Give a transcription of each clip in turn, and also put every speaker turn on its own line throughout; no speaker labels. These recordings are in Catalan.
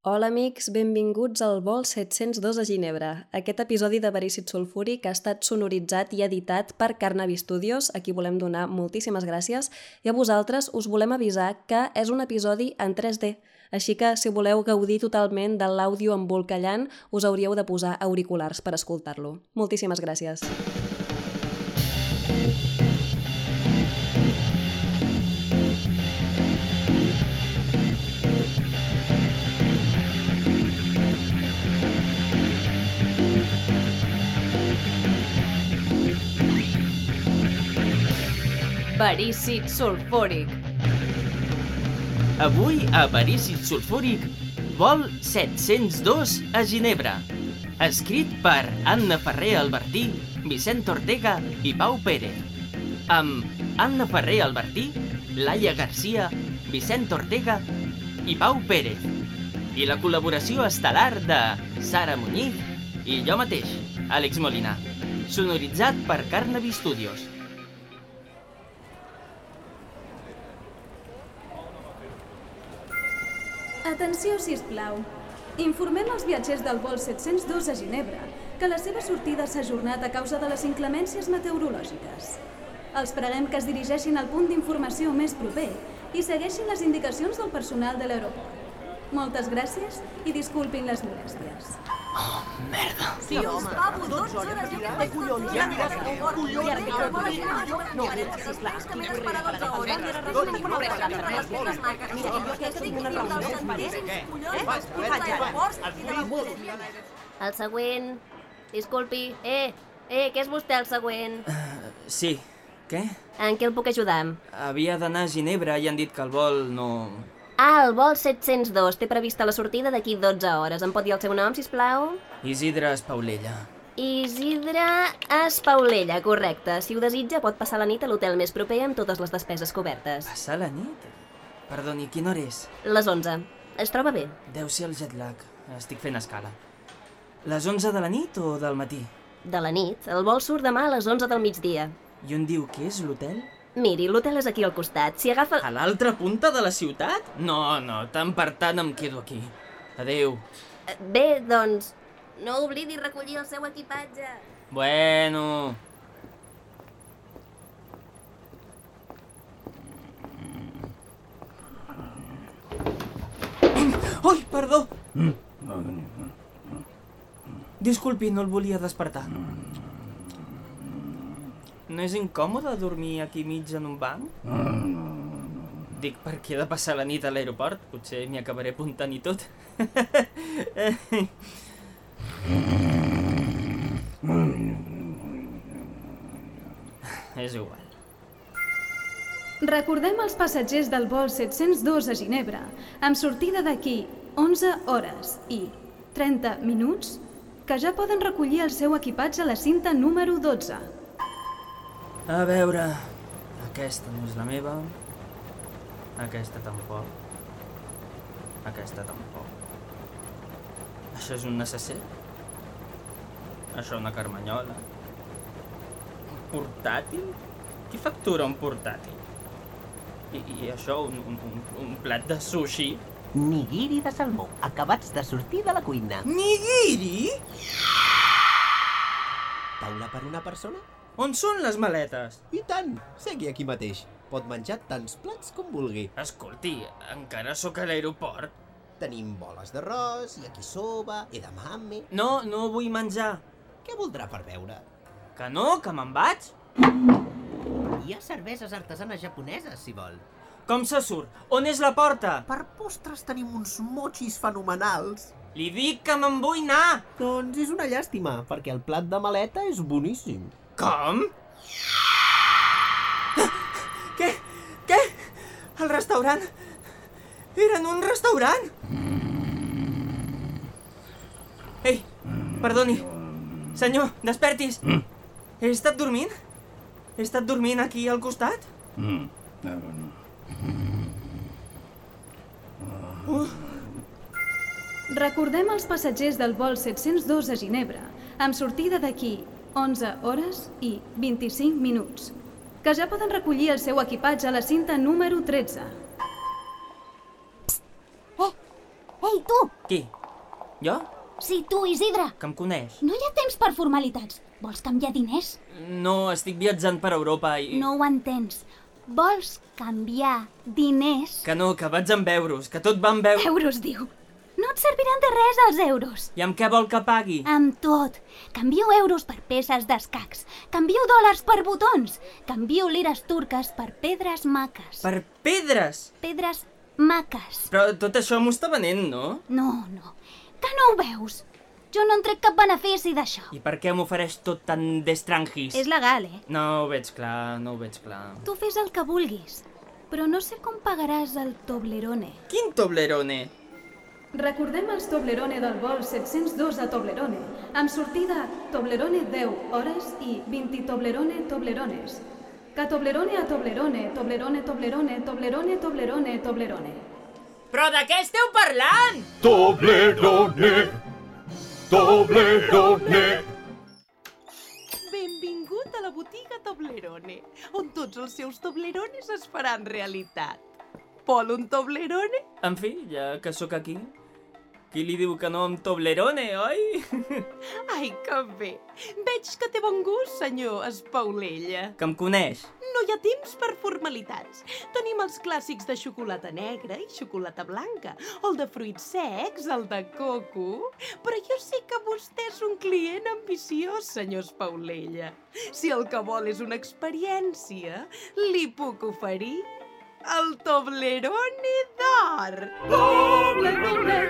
Hola amics, benvinguts al vol 702 a Ginebra. Aquest episodi de Verícit Sulfúric ha estat sonoritzat i editat per Carnavi Studios, a qui volem donar moltíssimes gràcies, i a vosaltres us volem avisar que és un episodi en 3D. Així que, si voleu gaudir totalment de l'àudio embolcallant, us hauríeu de posar auriculars per escoltar-lo. Moltíssimes gràcies.
Verícit sulfúric.
Avui a Verícit Sulfúric, vol 702 a Ginebra. Escrit per Anna Ferrer Albertí, Vicent Ortega i Pau Pérez. Amb Anna Ferrer Albertí, Laia Garcia, Vicent Ortega i Pau Pérez. I la col·laboració estel·lar de Sara Muñiz i jo mateix, Àlex Molina. Sonoritzat per Carnaby Studios.
Atenció, si plau. Informem els viatgers del vol 702 a Ginebra que la seva sortida s'ha ajornat a causa de les inclemències meteorològiques. Els preguem que es dirigeixin al punt d'informació més proper i segueixin les indicacions del personal de l'aeroport. Moltes gràcies i disculpin les molèsties.
Merda.
Sí, home. Pavo, 12 hores jo que estic collons, ja aniràs a favor. Collons, ja aniràs a favor. No, mira, sisplau. Que m'he d'esperar 12 hores. No tinc una reunió per les teves maques. Mira, jo que tinc una reunió amb Marisa. Què? Faig ara.
El següent. Disculpi. Eh, eh, què és vostè el següent?
Sí. Què?
En què el puc ajudar?
Havia d'anar a Ginebra i han dit que el vol no...
Ah, el vol 702. Té prevista la sortida d'aquí 12 hores. Em pot dir el seu nom, si plau?
Isidre Espaulella.
Isidre Espaulella, correcte. Si ho desitja, pot passar la nit a l'hotel més proper amb totes les despeses cobertes.
Passar la nit? Perdoni, quina hora és?
Les 11. Es troba bé?
Deu ser el jet lag. Estic fent escala. Les 11 de la nit o del matí?
De la nit. El vol surt demà a les 11 del migdia.
I on diu que és l'hotel?
Miri, l'hotel és aquí al costat. Si agafa...
A l'altra punta de la ciutat? No, no, tant per tant em quedo aquí. Adeu.
Eh, Bé, doncs... No oblidi recollir el seu equipatge.
Bueno... Ai, perdó! Disculpi, no el volia despertar. No és incòmode dormir aquí mig en un banc? Dic, per què he de passar la nit a l'aeroport? Potser m'hi acabaré apuntant i tot. és igual.
Recordem els passatgers del vol 702 a Ginebra, amb sortida d'aquí 11 hores i 30 minuts, que ja poden recollir el seu equipatge a la cinta número 12.
A veure... Aquesta no és la meva. Aquesta tampoc. Aquesta tampoc. Això és un necesser? Això una carmanyola? Un portàtil? Qui factura un portàtil? I, i això, un, un, un, un plat de sushi?
Nigiri de salmó, acabats de sortir de la cuina.
Nigiri?
Taula per una persona?
On són les maletes?
I tant! Segui aquí mateix. Pot menjar tants plats com vulgui.
Escolti, encara sóc a l'aeroport.
Tenim boles d'arròs, yakisoba, edamame...
No, no vull menjar.
Què voldrà per beure?
Que no, que me'n vaig?
Hi ha cerveses artesanes japoneses, si vol.
Com se surt? On és la porta?
Per postres tenim uns mochis fenomenals.
Li dic que me'n vull anar!
Doncs és una llàstima, perquè el plat de maleta és boníssim.
Com? Què? Què? El restaurant? Era en un restaurant? Ei, perdoni. Senyor, despertis. He estat dormint? He estat dormint aquí al costat?
Mm.
Uh. Recordem els passatgers del vol 702 a Ginebra, amb sortida d'aquí 11 hores i 25 minuts, que ja poden recollir el seu equipatge a la cinta número 13.
Oh, Ei, tu!
Qui? Jo?
Si tu, Isidre,
Que em coneix?
no hi ha temps per formalitats. Vols canviar diners?
No, estic viatjant per Europa i...
No ho entens. Vols canviar diners?
Que no, que vaig amb euros, que tot va amb euros.
Euros, diu. No et serviran de res els euros.
I amb què vol que pagui?
Amb tot. Canvieu euros per peces d'escacs. Canvieu dòlars per botons. Canvieu lires turques per pedres maques.
Per pedres!
Pedres maques.
Però tot això m'ho està venent, no?
No, no. Que no ho veus? Jo no en trec cap benefici d'això.
I per què m'ofereix tot tan d'estrangis?
És legal, eh?
No ho veig clar, no ho veig clar.
Tu fes el que vulguis, però no sé com pagaràs el Toblerone.
Quin Toblerone!
Recordem els Toblerone del vol 702 a Toblerone, amb sortida Toblerone 10 hores i 20 Toblerone Toblerones. Que Toblerone a Toblerone, Toblerone, Toblerone, Toblerone, Toblerone, Toblerone.
Però de què esteu parlant?
Toblerone, Toblerone,
Benvingut a la botiga Toblerone, on tots els seus Toblerones es faran realitat. Vol un Toblerone?
En fi, ja que sóc aquí, qui li diu que no amb Toblerone, oi?
Ai, que bé! Veig que té bon gust, senyor Espaulella.
que em coneix.
No hi ha temps per formalitats. Tenim els clàssics de xocolata negra i xocolata blanca, el de fruits secs, el de coco... Però jo sé que vostè és un client ambiciós, senyor Espaulella. Si el que vol és una experiència, li puc oferir el Toblerone d'or.
Toblerone,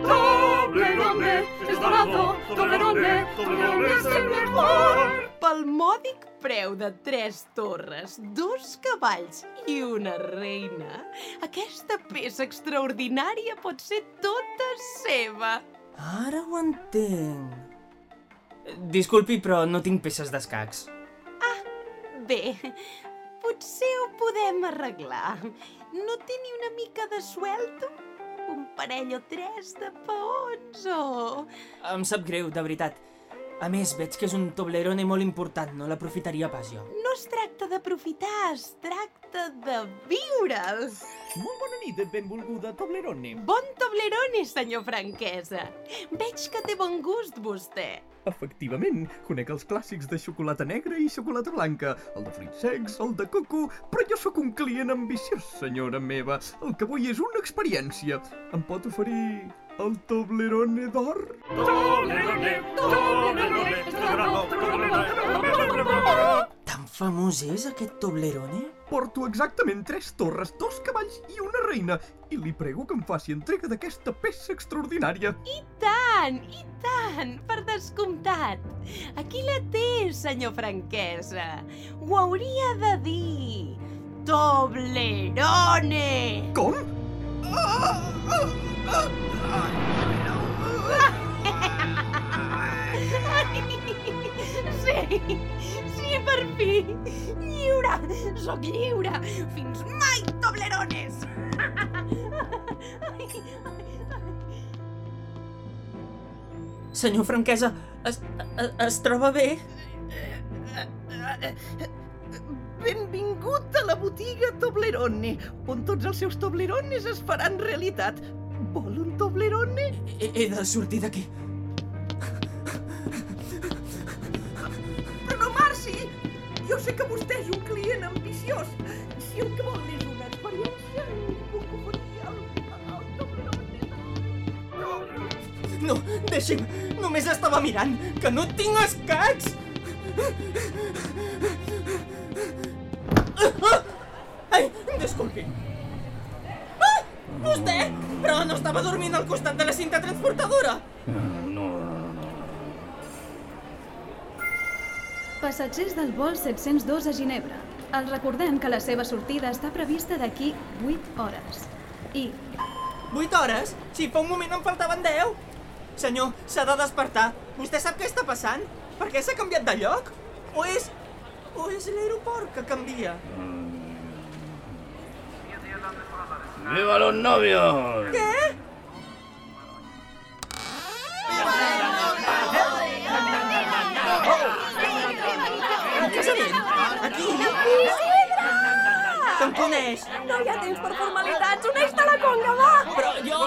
Toblerone, es dorado, Toblerone, Toblerone es el mejor.
Pel mòdic preu de tres torres, dos cavalls i una reina, aquesta peça extraordinària pot ser tota seva.
Ara ho entenc. Disculpi, però no tinc peces d'escacs.
Bé, potser ho podem arreglar. No té ni una mica de suelto? Un parell o tres de paons o...
Em sap greu, de veritat. A més, veig que és un Toblerone molt important, no l'aprofitaria pas jo.
No es tracta d'aprofitar, es tracta de viure'l.
Molt bona nit, benvolguda Toblerone.
Bon Toblerone, senyor Franquesa. Veig que té bon gust, vostè.
Efectivament, conec els clàssics de xocolata negra i xocolata blanca, el de fruits secs, el de coco, però jo sóc un client ambiciós, senyora meva. El que vull és una experiència. Em pot oferir el Toblerone d'or?
Toblerone, Toblerone, es dorado, Toblerone, Toblerone es el mejor.
Tan famós és aquest Toblerone?
Porto exactament tres torres, dos cavalls i una reina, i li prego que em faci entrega d'aquesta peça extraordinària.
tant, i tant, per descomptat. Aquí la té, senyor Franquesa. Ho hauria de dir. Toblerone!
Com?
Sí, sí, per fi. Lliure, sóc lliure. Fins mai, Toblerones! Ai, ai, ai.
Senyor Franquesa, es, es, es troba bé?
Eh,
Benvingut a la botiga Toblerone, on tots els seus Toblerones es faran realitat. Vol un Toblerone?
He, he de sortir d'aquí.
Però no marxi! Jo sé que vostè és un client ambiciós. Si el que vol és una experiència, li puc oferir el, el Toblerone.
No, deixi'm, només estava mirant, que no tinc escacs! Ah! Ai, disculpi. Ah, vostè? Però no estava dormint al costat de la cinta transportadora.
Passatgers del vol 702 a Ginebra. Els recordem que la seva sortida està prevista d'aquí 8 hores. I
8 hores? Si fa un moment em faltaven 10. Senyor, s'ha de despertar. Vostè sap què està passant? Per què s'ha canviat de lloc? O és... o és l'aeroport que canvia?
¡Viva los novios!
Què?
Ah,
Aquí! Isidre! Em
em coneix.
No hi ha temps per formalitats, uneix-te a la conga, va!
Però jo...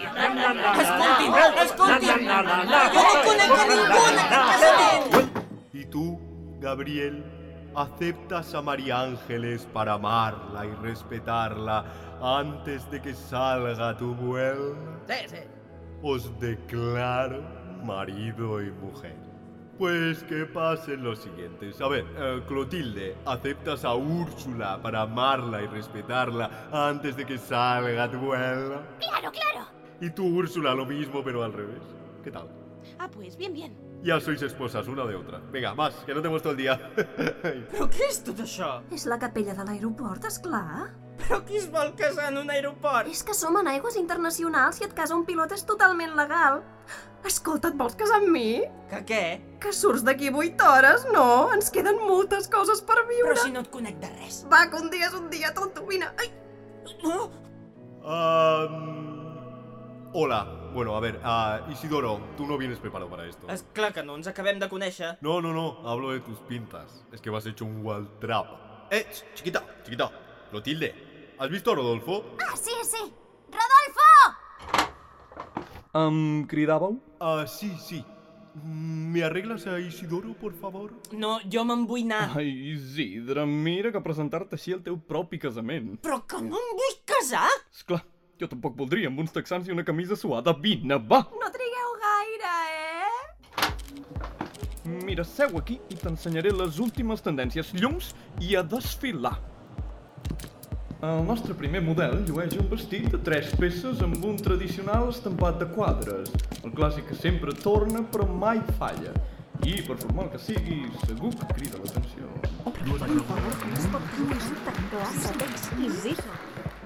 Escolti'm,
escolti'm, jo no conec a ningú en aquest casament.
¿Y tú, Gabriel, aceptas a María Ángeles para amarla y respetarla antes de que salga tu vuelo?
Sí, sí.
Os declaro marido y mujer. Pues que pasen los siguientes. A ver, eh, Clotilde, ¿aceptas a Úrsula para amarla y respetarla antes de que salga tu vuelo?
Claro, claro.
Y tú, Úrsula, lo mismo, pero al revés. ¿Qué tal?
Ah, pues, bien, bien.
Ya sois esposas una de otra. Venga, más, que no tenemos todo el día.
Però què és tot això?
És la capella de l'aeroport, és clar.
Però qui es vol casar en un aeroport?
És que som en aigües internacionals i et casa un pilot és totalment legal. Escolta, et vols casar amb mi?
Que què?
Que surts d'aquí 8 hores, no? Ens queden moltes coses per viure.
Però si no et conec de res.
Va, que un dia és un dia, tonto, vine. Ai!
No?
Am, hola. Bueno, a ver, ah, Isidoro, tú no vienes preparado para esto.
És clar que no ens acabem de conèixer.
No, no, no, hablo de tus pintas. Es que vas hecho un wall trap. Eh, ch- chiquita, chiquita, Clotilde, ¿has visto a Rodolfo?
Ah, sí, sí. Rodolfo!
Em cridàveu?
Ah, sí, sí. Mm, ¿Me arreglas a Isidoro, por favor?
No, jo me'n vull anar.
Ai, Isidre, mira que presentar-te així al teu propi casament.
Però que no em vull casar?
Esclar, jo tampoc voldria amb uns texans i una camisa suada. Vine, va!
No trigueu gaire, eh?
Mira, seu aquí i t'ensenyaré les últimes tendències, llums i a desfilar. El nostre primer model llueix un vestit de tres peces amb un tradicional estampat de quadres. El clàssic que sempre torna però mai falla. I per formar el que sigui, segur que crida l'atenció.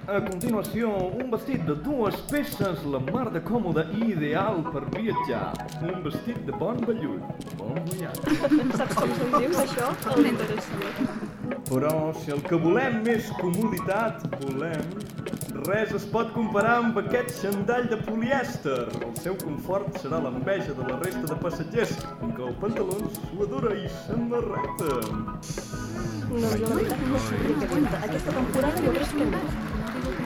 A continuació, un vestit de dues peces, la mar de còmode i ideal per viatjar. Un vestit de bon vellut, bon viatge.
Saps com se'n diu, això? El nen d'Horació.
Però si el que volem és comoditat, volem... Res es pot comparar amb aquest xandall de polièster. El seu confort serà l'enveja de la resta de passatgers, inclou pantalons, suadora i samarreta.
No, jo la veritat no sé què compta. Aquesta temporada jo crec que no.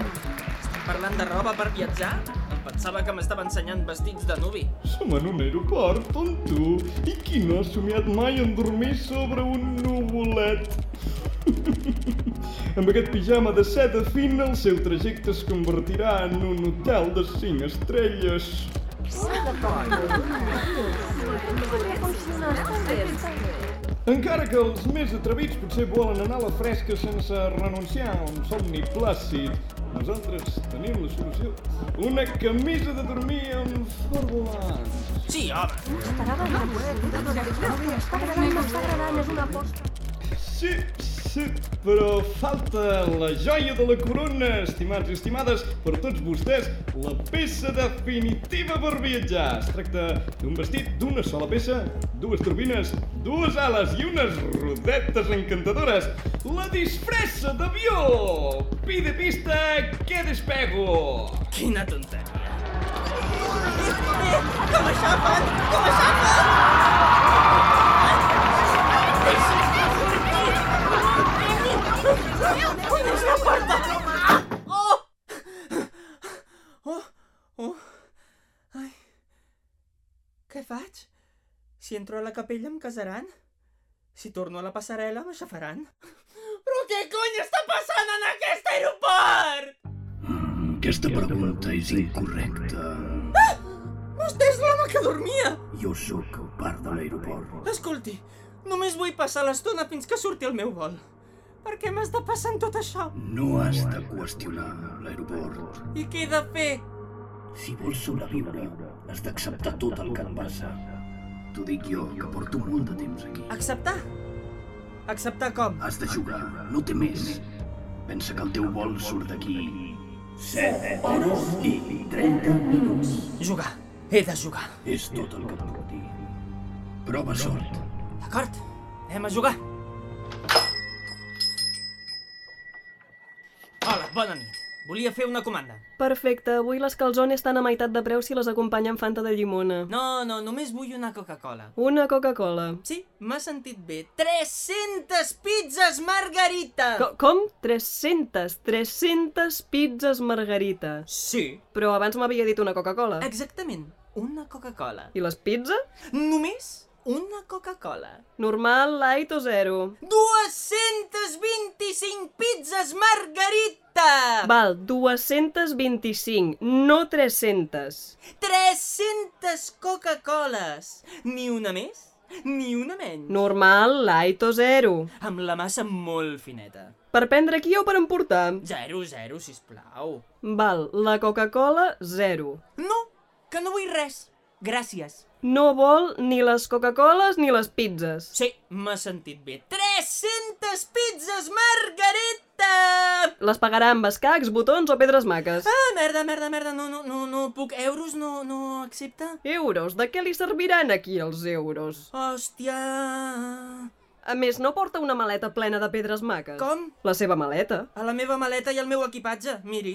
Estem parlant de roba per viatjar? Em pensava que m'estava ensenyant vestits de nuvi.
Som en un aeroport, tonto, i qui no ha somiat mai en dormir sobre un nuvolet? Amb aquest pijama de seda fina, el seu trajecte es convertirà en un hotel de 5 estrelles. Encara que els més atrevits potser volen anar a la fresca sense renunciar a un somni plàcid, nosaltres tenim la solució. Una camisa de dormir amb formulants.
Sí, home.
Estarà ballant. Està agradant, està agradant, és una aposta.
Sí, sí, però falta la joia de la corona, estimats i estimades, per tots vostès, la peça definitiva per viatjar. Es tracta d'un vestit d'una sola peça, dues turbines, dues ales i unes rodetes encantadores. La disfressa d'avió! Pide pista, que despego!
Quina tonteria.
Obreix la porta!
Oh, Què faig? Si entro a la capella em casaran? Si torno a la passarel·la m'aixafaran? Però què cony està passant en aquest aeroport?
Aquesta pregunta és incorrecta.
Vostè és l'home que dormia!
Jo sóc part de l'aeroport.
Escolti, només vull passar l'estona fins que surti el meu vol. Per què m'està passant tot això?
No has de qüestionar l'aeroport.
I què he de fer?
Si vols sobreviure, has d'acceptar tot el que et passa. T'ho dic jo, que porto molt de temps aquí.
Acceptar? Acceptar com?
Has de jugar, no té més. Pensa que el teu vol surt d'aquí... 7 hores i 30 minuts.
Jugar. He de jugar.
És tot el que et puc dir. Prova sort.
D'acord, anem a jugar. Hola, bona nit.
Volia fer una comanda.
Perfecte, avui les calzones estan a meitat de preu si les acompanya amb Fanta de llimona.
No, no, només vull una Coca-Cola.
Una Coca-Cola.
Sí, m'ha sentit bé. 300 pizzas margarita!
Co com? 300, 300 pizzas margarita.
Sí.
Però abans m'havia dit una Coca-Cola.
Exactament, una Coca-Cola.
I les pizzas?
Només una Coca-Cola.
Normal, light o zero?
225 pizzas margarita!
Val, 225, no 300.
300 Coca-Coles! Ni una més, ni una menys.
Normal, light o zero?
Amb la massa molt fineta.
Per prendre aquí o per emportar?
Zero, zero, sisplau.
Val, la Coca-Cola, zero.
No, que no vull res. Gràcies.
No vol ni les Coca-Coles ni les pizzas.
Sí, m'ha sentit bé. 300 pizzas, Margarita!
Les pagarà amb escacs, botons o pedres maques.
Ah, merda, merda, merda, no, no, no, no puc. Euros no, no accepta?
Euros? De què li serviran aquí els euros?
Hòstia...
A més, no porta una maleta plena de pedres maques.
Com?
La seva maleta.
A la meva maleta i al meu equipatge, miri.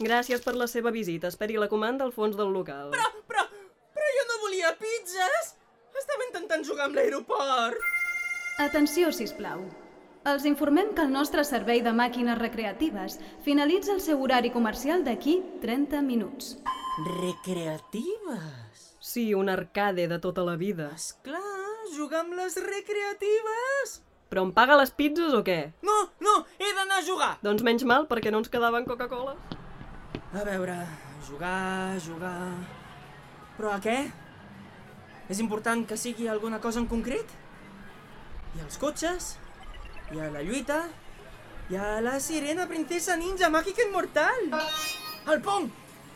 Gràcies per la seva visita. Esperi la comanda al fons del local.
Però, però, però jo no volia pizzas! Estava intentant jugar amb l'aeroport!
Atenció, si plau. Els informem que el nostre servei de màquines recreatives finalitza el seu horari comercial d'aquí 30 minuts.
Recreatives?
Sí, un arcade de tota la vida.
Esclar, jugar amb les recreatives!
Però em paga les pizzas o què?
No, no, he d'anar a jugar!
Doncs menys mal, perquè no ens quedaven Coca-Cola.
A veure, jugar, jugar... Però a què? És important que sigui alguna cosa en concret? I als cotxes? I a la lluita? I a la sirena princesa ninja màgica immortal? El pong!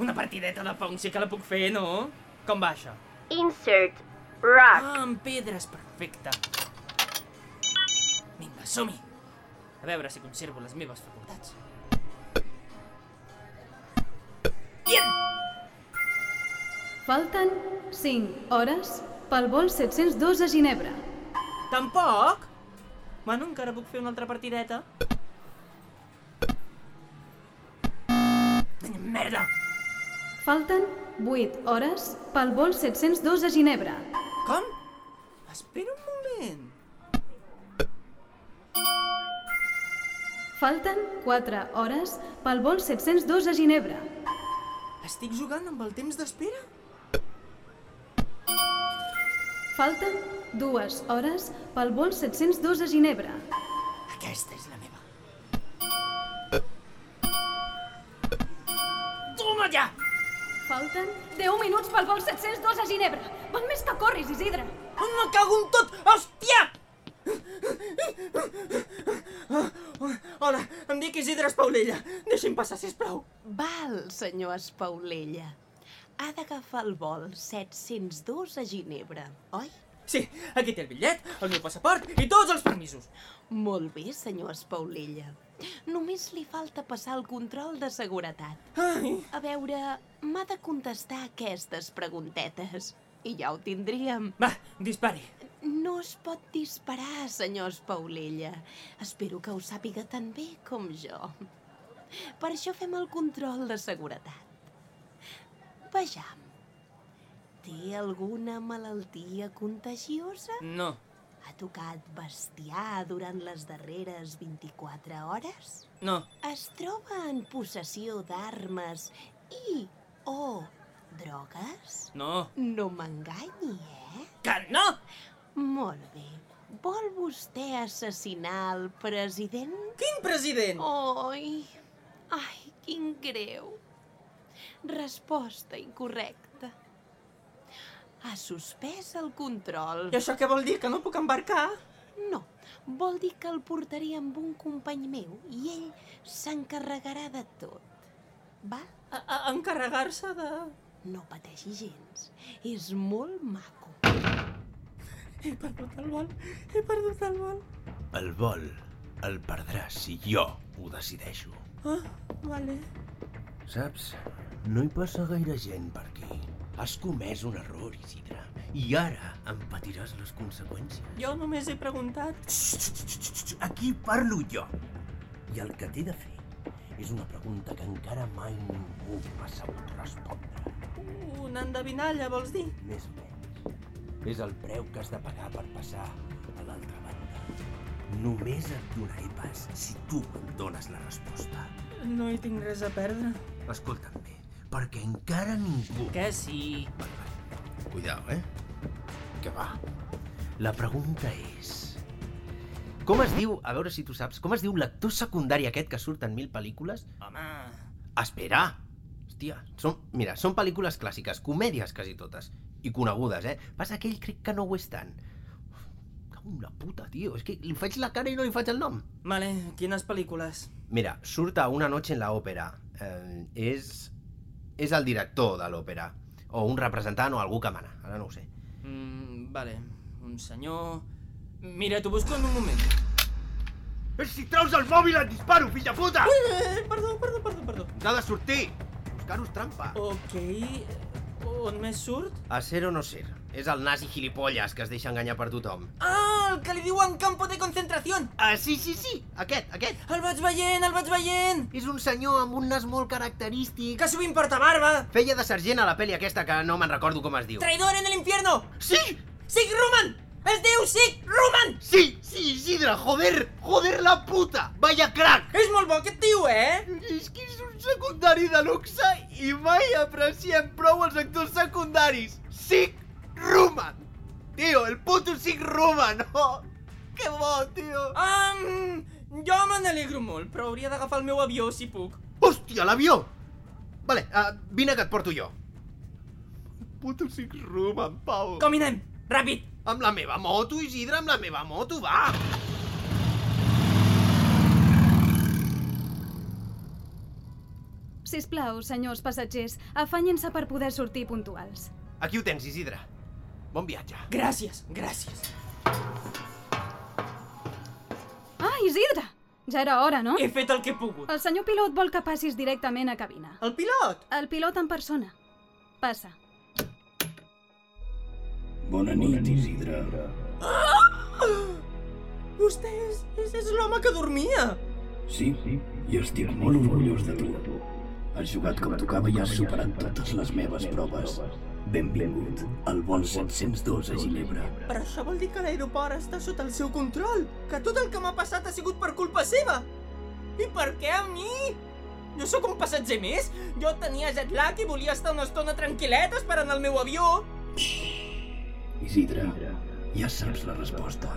Una partideta de pong sí que la puc fer, no? Com va això?
Insert rock.
Ah, amb pedres, perfecte. Vinga, som-hi! A veure si conservo les meves facultats.
Falten 5 hores pel vol 702 a Ginebra.
Tampoc? Bueno, encara puc fer una altra partideta. Merda!
Falten 8 hores pel vol 702 a Ginebra.
Com? Espera un moment.
Falten 4 hores pel vol 702 a Ginebra.
Estic jugant amb el temps d'espera?
Falten dues hores pel vol 702 a Ginebra.
Aquesta és la meva. Toma ja!
Falten 10 minuts pel vol 702 a Ginebra. Val més que corris, Isidre.
On me cago en tot! Hòstia! Hola, em dic Isidre Espaulella. Deixi'm passar, si plau.
Val, senyor Espaulella. Ha d'agafar el vol 702 a Ginebra, oi?
Sí, aquí té el bitllet, el meu passaport i tots els permisos.
Molt bé, senyor Espaulella. Només li falta passar el control de seguretat.
Ai.
A veure, m'ha de contestar aquestes preguntetes. I ja ho tindríem.
Va, dispari.
No es pot disparar, senyor Espaulella. Espero que ho sàpiga tan bé com jo. Per això fem el control de seguretat. Vejam. Té alguna malaltia contagiosa?
No.
Ha tocat bestiar durant les darreres 24 hores?
No.
Es troba en possessió d'armes i o drogues?
No.
No m'enganyi, eh?
Que no!
Molt bé. Vol vostè assassinar el president?
Quin president?
Oi, ai, quin greu. Resposta incorrecta. Ha suspès el control.
I això què vol dir? Que no puc embarcar?
No, vol dir que el portaré amb un company meu i ell s'encarregarà de tot. Va?
Encarregar-se de...
No pateixi gens. És molt maco.
He perdut el vol. He perdut el vol.
El vol el perdràs si jo ho decideixo.
Ah, vale.
Saps, no hi passa gaire gent per aquí. Has comès un error, Isidre, i ara en patiràs les conseqüències.
Jo només he preguntat.
Aquí parlo jo.
I el que t'he de fer és una pregunta que encara mai ningú m'ha sabut respondre.
Una endevinalla, vols dir?
Més o menys. És el preu que has de pagar per passar a l'altra banda. Només et donaré pas si tu em dones la resposta.
No hi tinc res a perdre.
Escolta'm bé, perquè encara ningú...
Que sí?
Cuidao, eh? Que va. La pregunta és... Com es diu, a veure si tu saps, com es diu l'actor secundari aquest que surt en mil pel·lícules?
Home,
Espera! Hòstia, són, mira, són pel·lícules clàssiques, comèdies quasi totes, i conegudes, eh? Passa que ell crec que no ho és tant. Uf, Cago en la puta, tio, és que li faig la cara i no li faig el nom.
vale, quines pel·lícules?
Mira, surt a Una noche en la òpera. Eh, és... és el director de l'òpera. O un representant o algú que mana, ara no ho sé.
Mm, vale, un senyor... Mira, t'ho busco en un moment.
Eh, Si treus el mòbil et disparo, fill de puta!
Ui, eh, eh, perdó, perdó, perdó, perdó.
Ens ha de sortir! Buscar-nos trampa.
Ok, on més surt?
A ser o no ser. És el nazi gilipolles que es deixa enganyar per tothom.
Ah, el que li diuen campo de concentració!
Ah, sí, sí, sí! Aquest, aquest!
El vaig veient, el vaig veient!
És un senyor amb un nas molt característic.
Que sovint porta barba!
Feia de sergent a la pel·li aquesta que no me'n recordo com es diu.
Traidor en el infierno!
Sí!
Sig Ruman! Es diu Sig Ruman!
Sí, sí, Isidre, joder! Joder la puta! Vaya crack!
És molt bo aquest tio, eh?
És que és un secundari de luxe i mai apreciem prou els actors secundaris. Sig Ruman! Tio, el puto Sig Ruman! Oh, que bo, tio!
Um, jo me n'alegro molt, però hauria d'agafar el meu avió si puc.
Hòstia, l'avió! Vale,
eh,
uh, vine que et porto jo.
Puto Sig Ruman, Pau!
Com hi anem? Ràpid!
Amb la meva moto, Isidre, amb la meva moto, va!
Sisplau, senyors passatgers, afanyin-se per poder sortir puntuals.
Aquí ho tens, Isidre. Bon viatge.
Gràcies, gràcies.
Ah, Isidre! Ja era hora, no?
He fet el que he pogut.
El senyor pilot vol que passis directament a cabina.
El pilot!
El pilot en persona. Passa.
Bona nit, Isidre.
Ah! Vostè és, és, és l'home que dormia!
Sí, i estic molt orgullós de tu. Has jugat com tocava i has superat totes les meves proves. Benvingut al vol 702 a Ginebra.
Però això vol dir que l'aeroport està sota el seu control, que tot el que m'ha passat ha sigut per culpa seva. I per què a mi? Jo sóc un passatger més? Jo tenia jet lag i volia estar una estona tranquil·let esperant el meu avió.
Isidre, ja saps la resposta.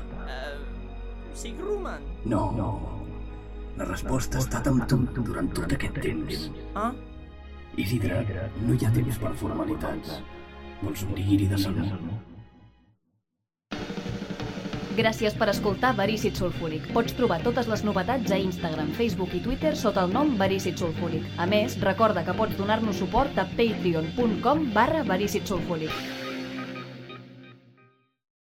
Sig Ruman.
No, no. La resposta ha estat amb tu durant tot aquest temps.
Ah?
Isidre, no hi ha temps per formalitats. Vols un nigiri de salmó?
Gràcies per escoltar Verícit Sulfúric. Pots trobar totes les novetats a Instagram, Facebook i Twitter sota el nom Verícit Sulfúric. A més, recorda que pots donar-nos suport a patreon.com barra Verícit Sulfúric.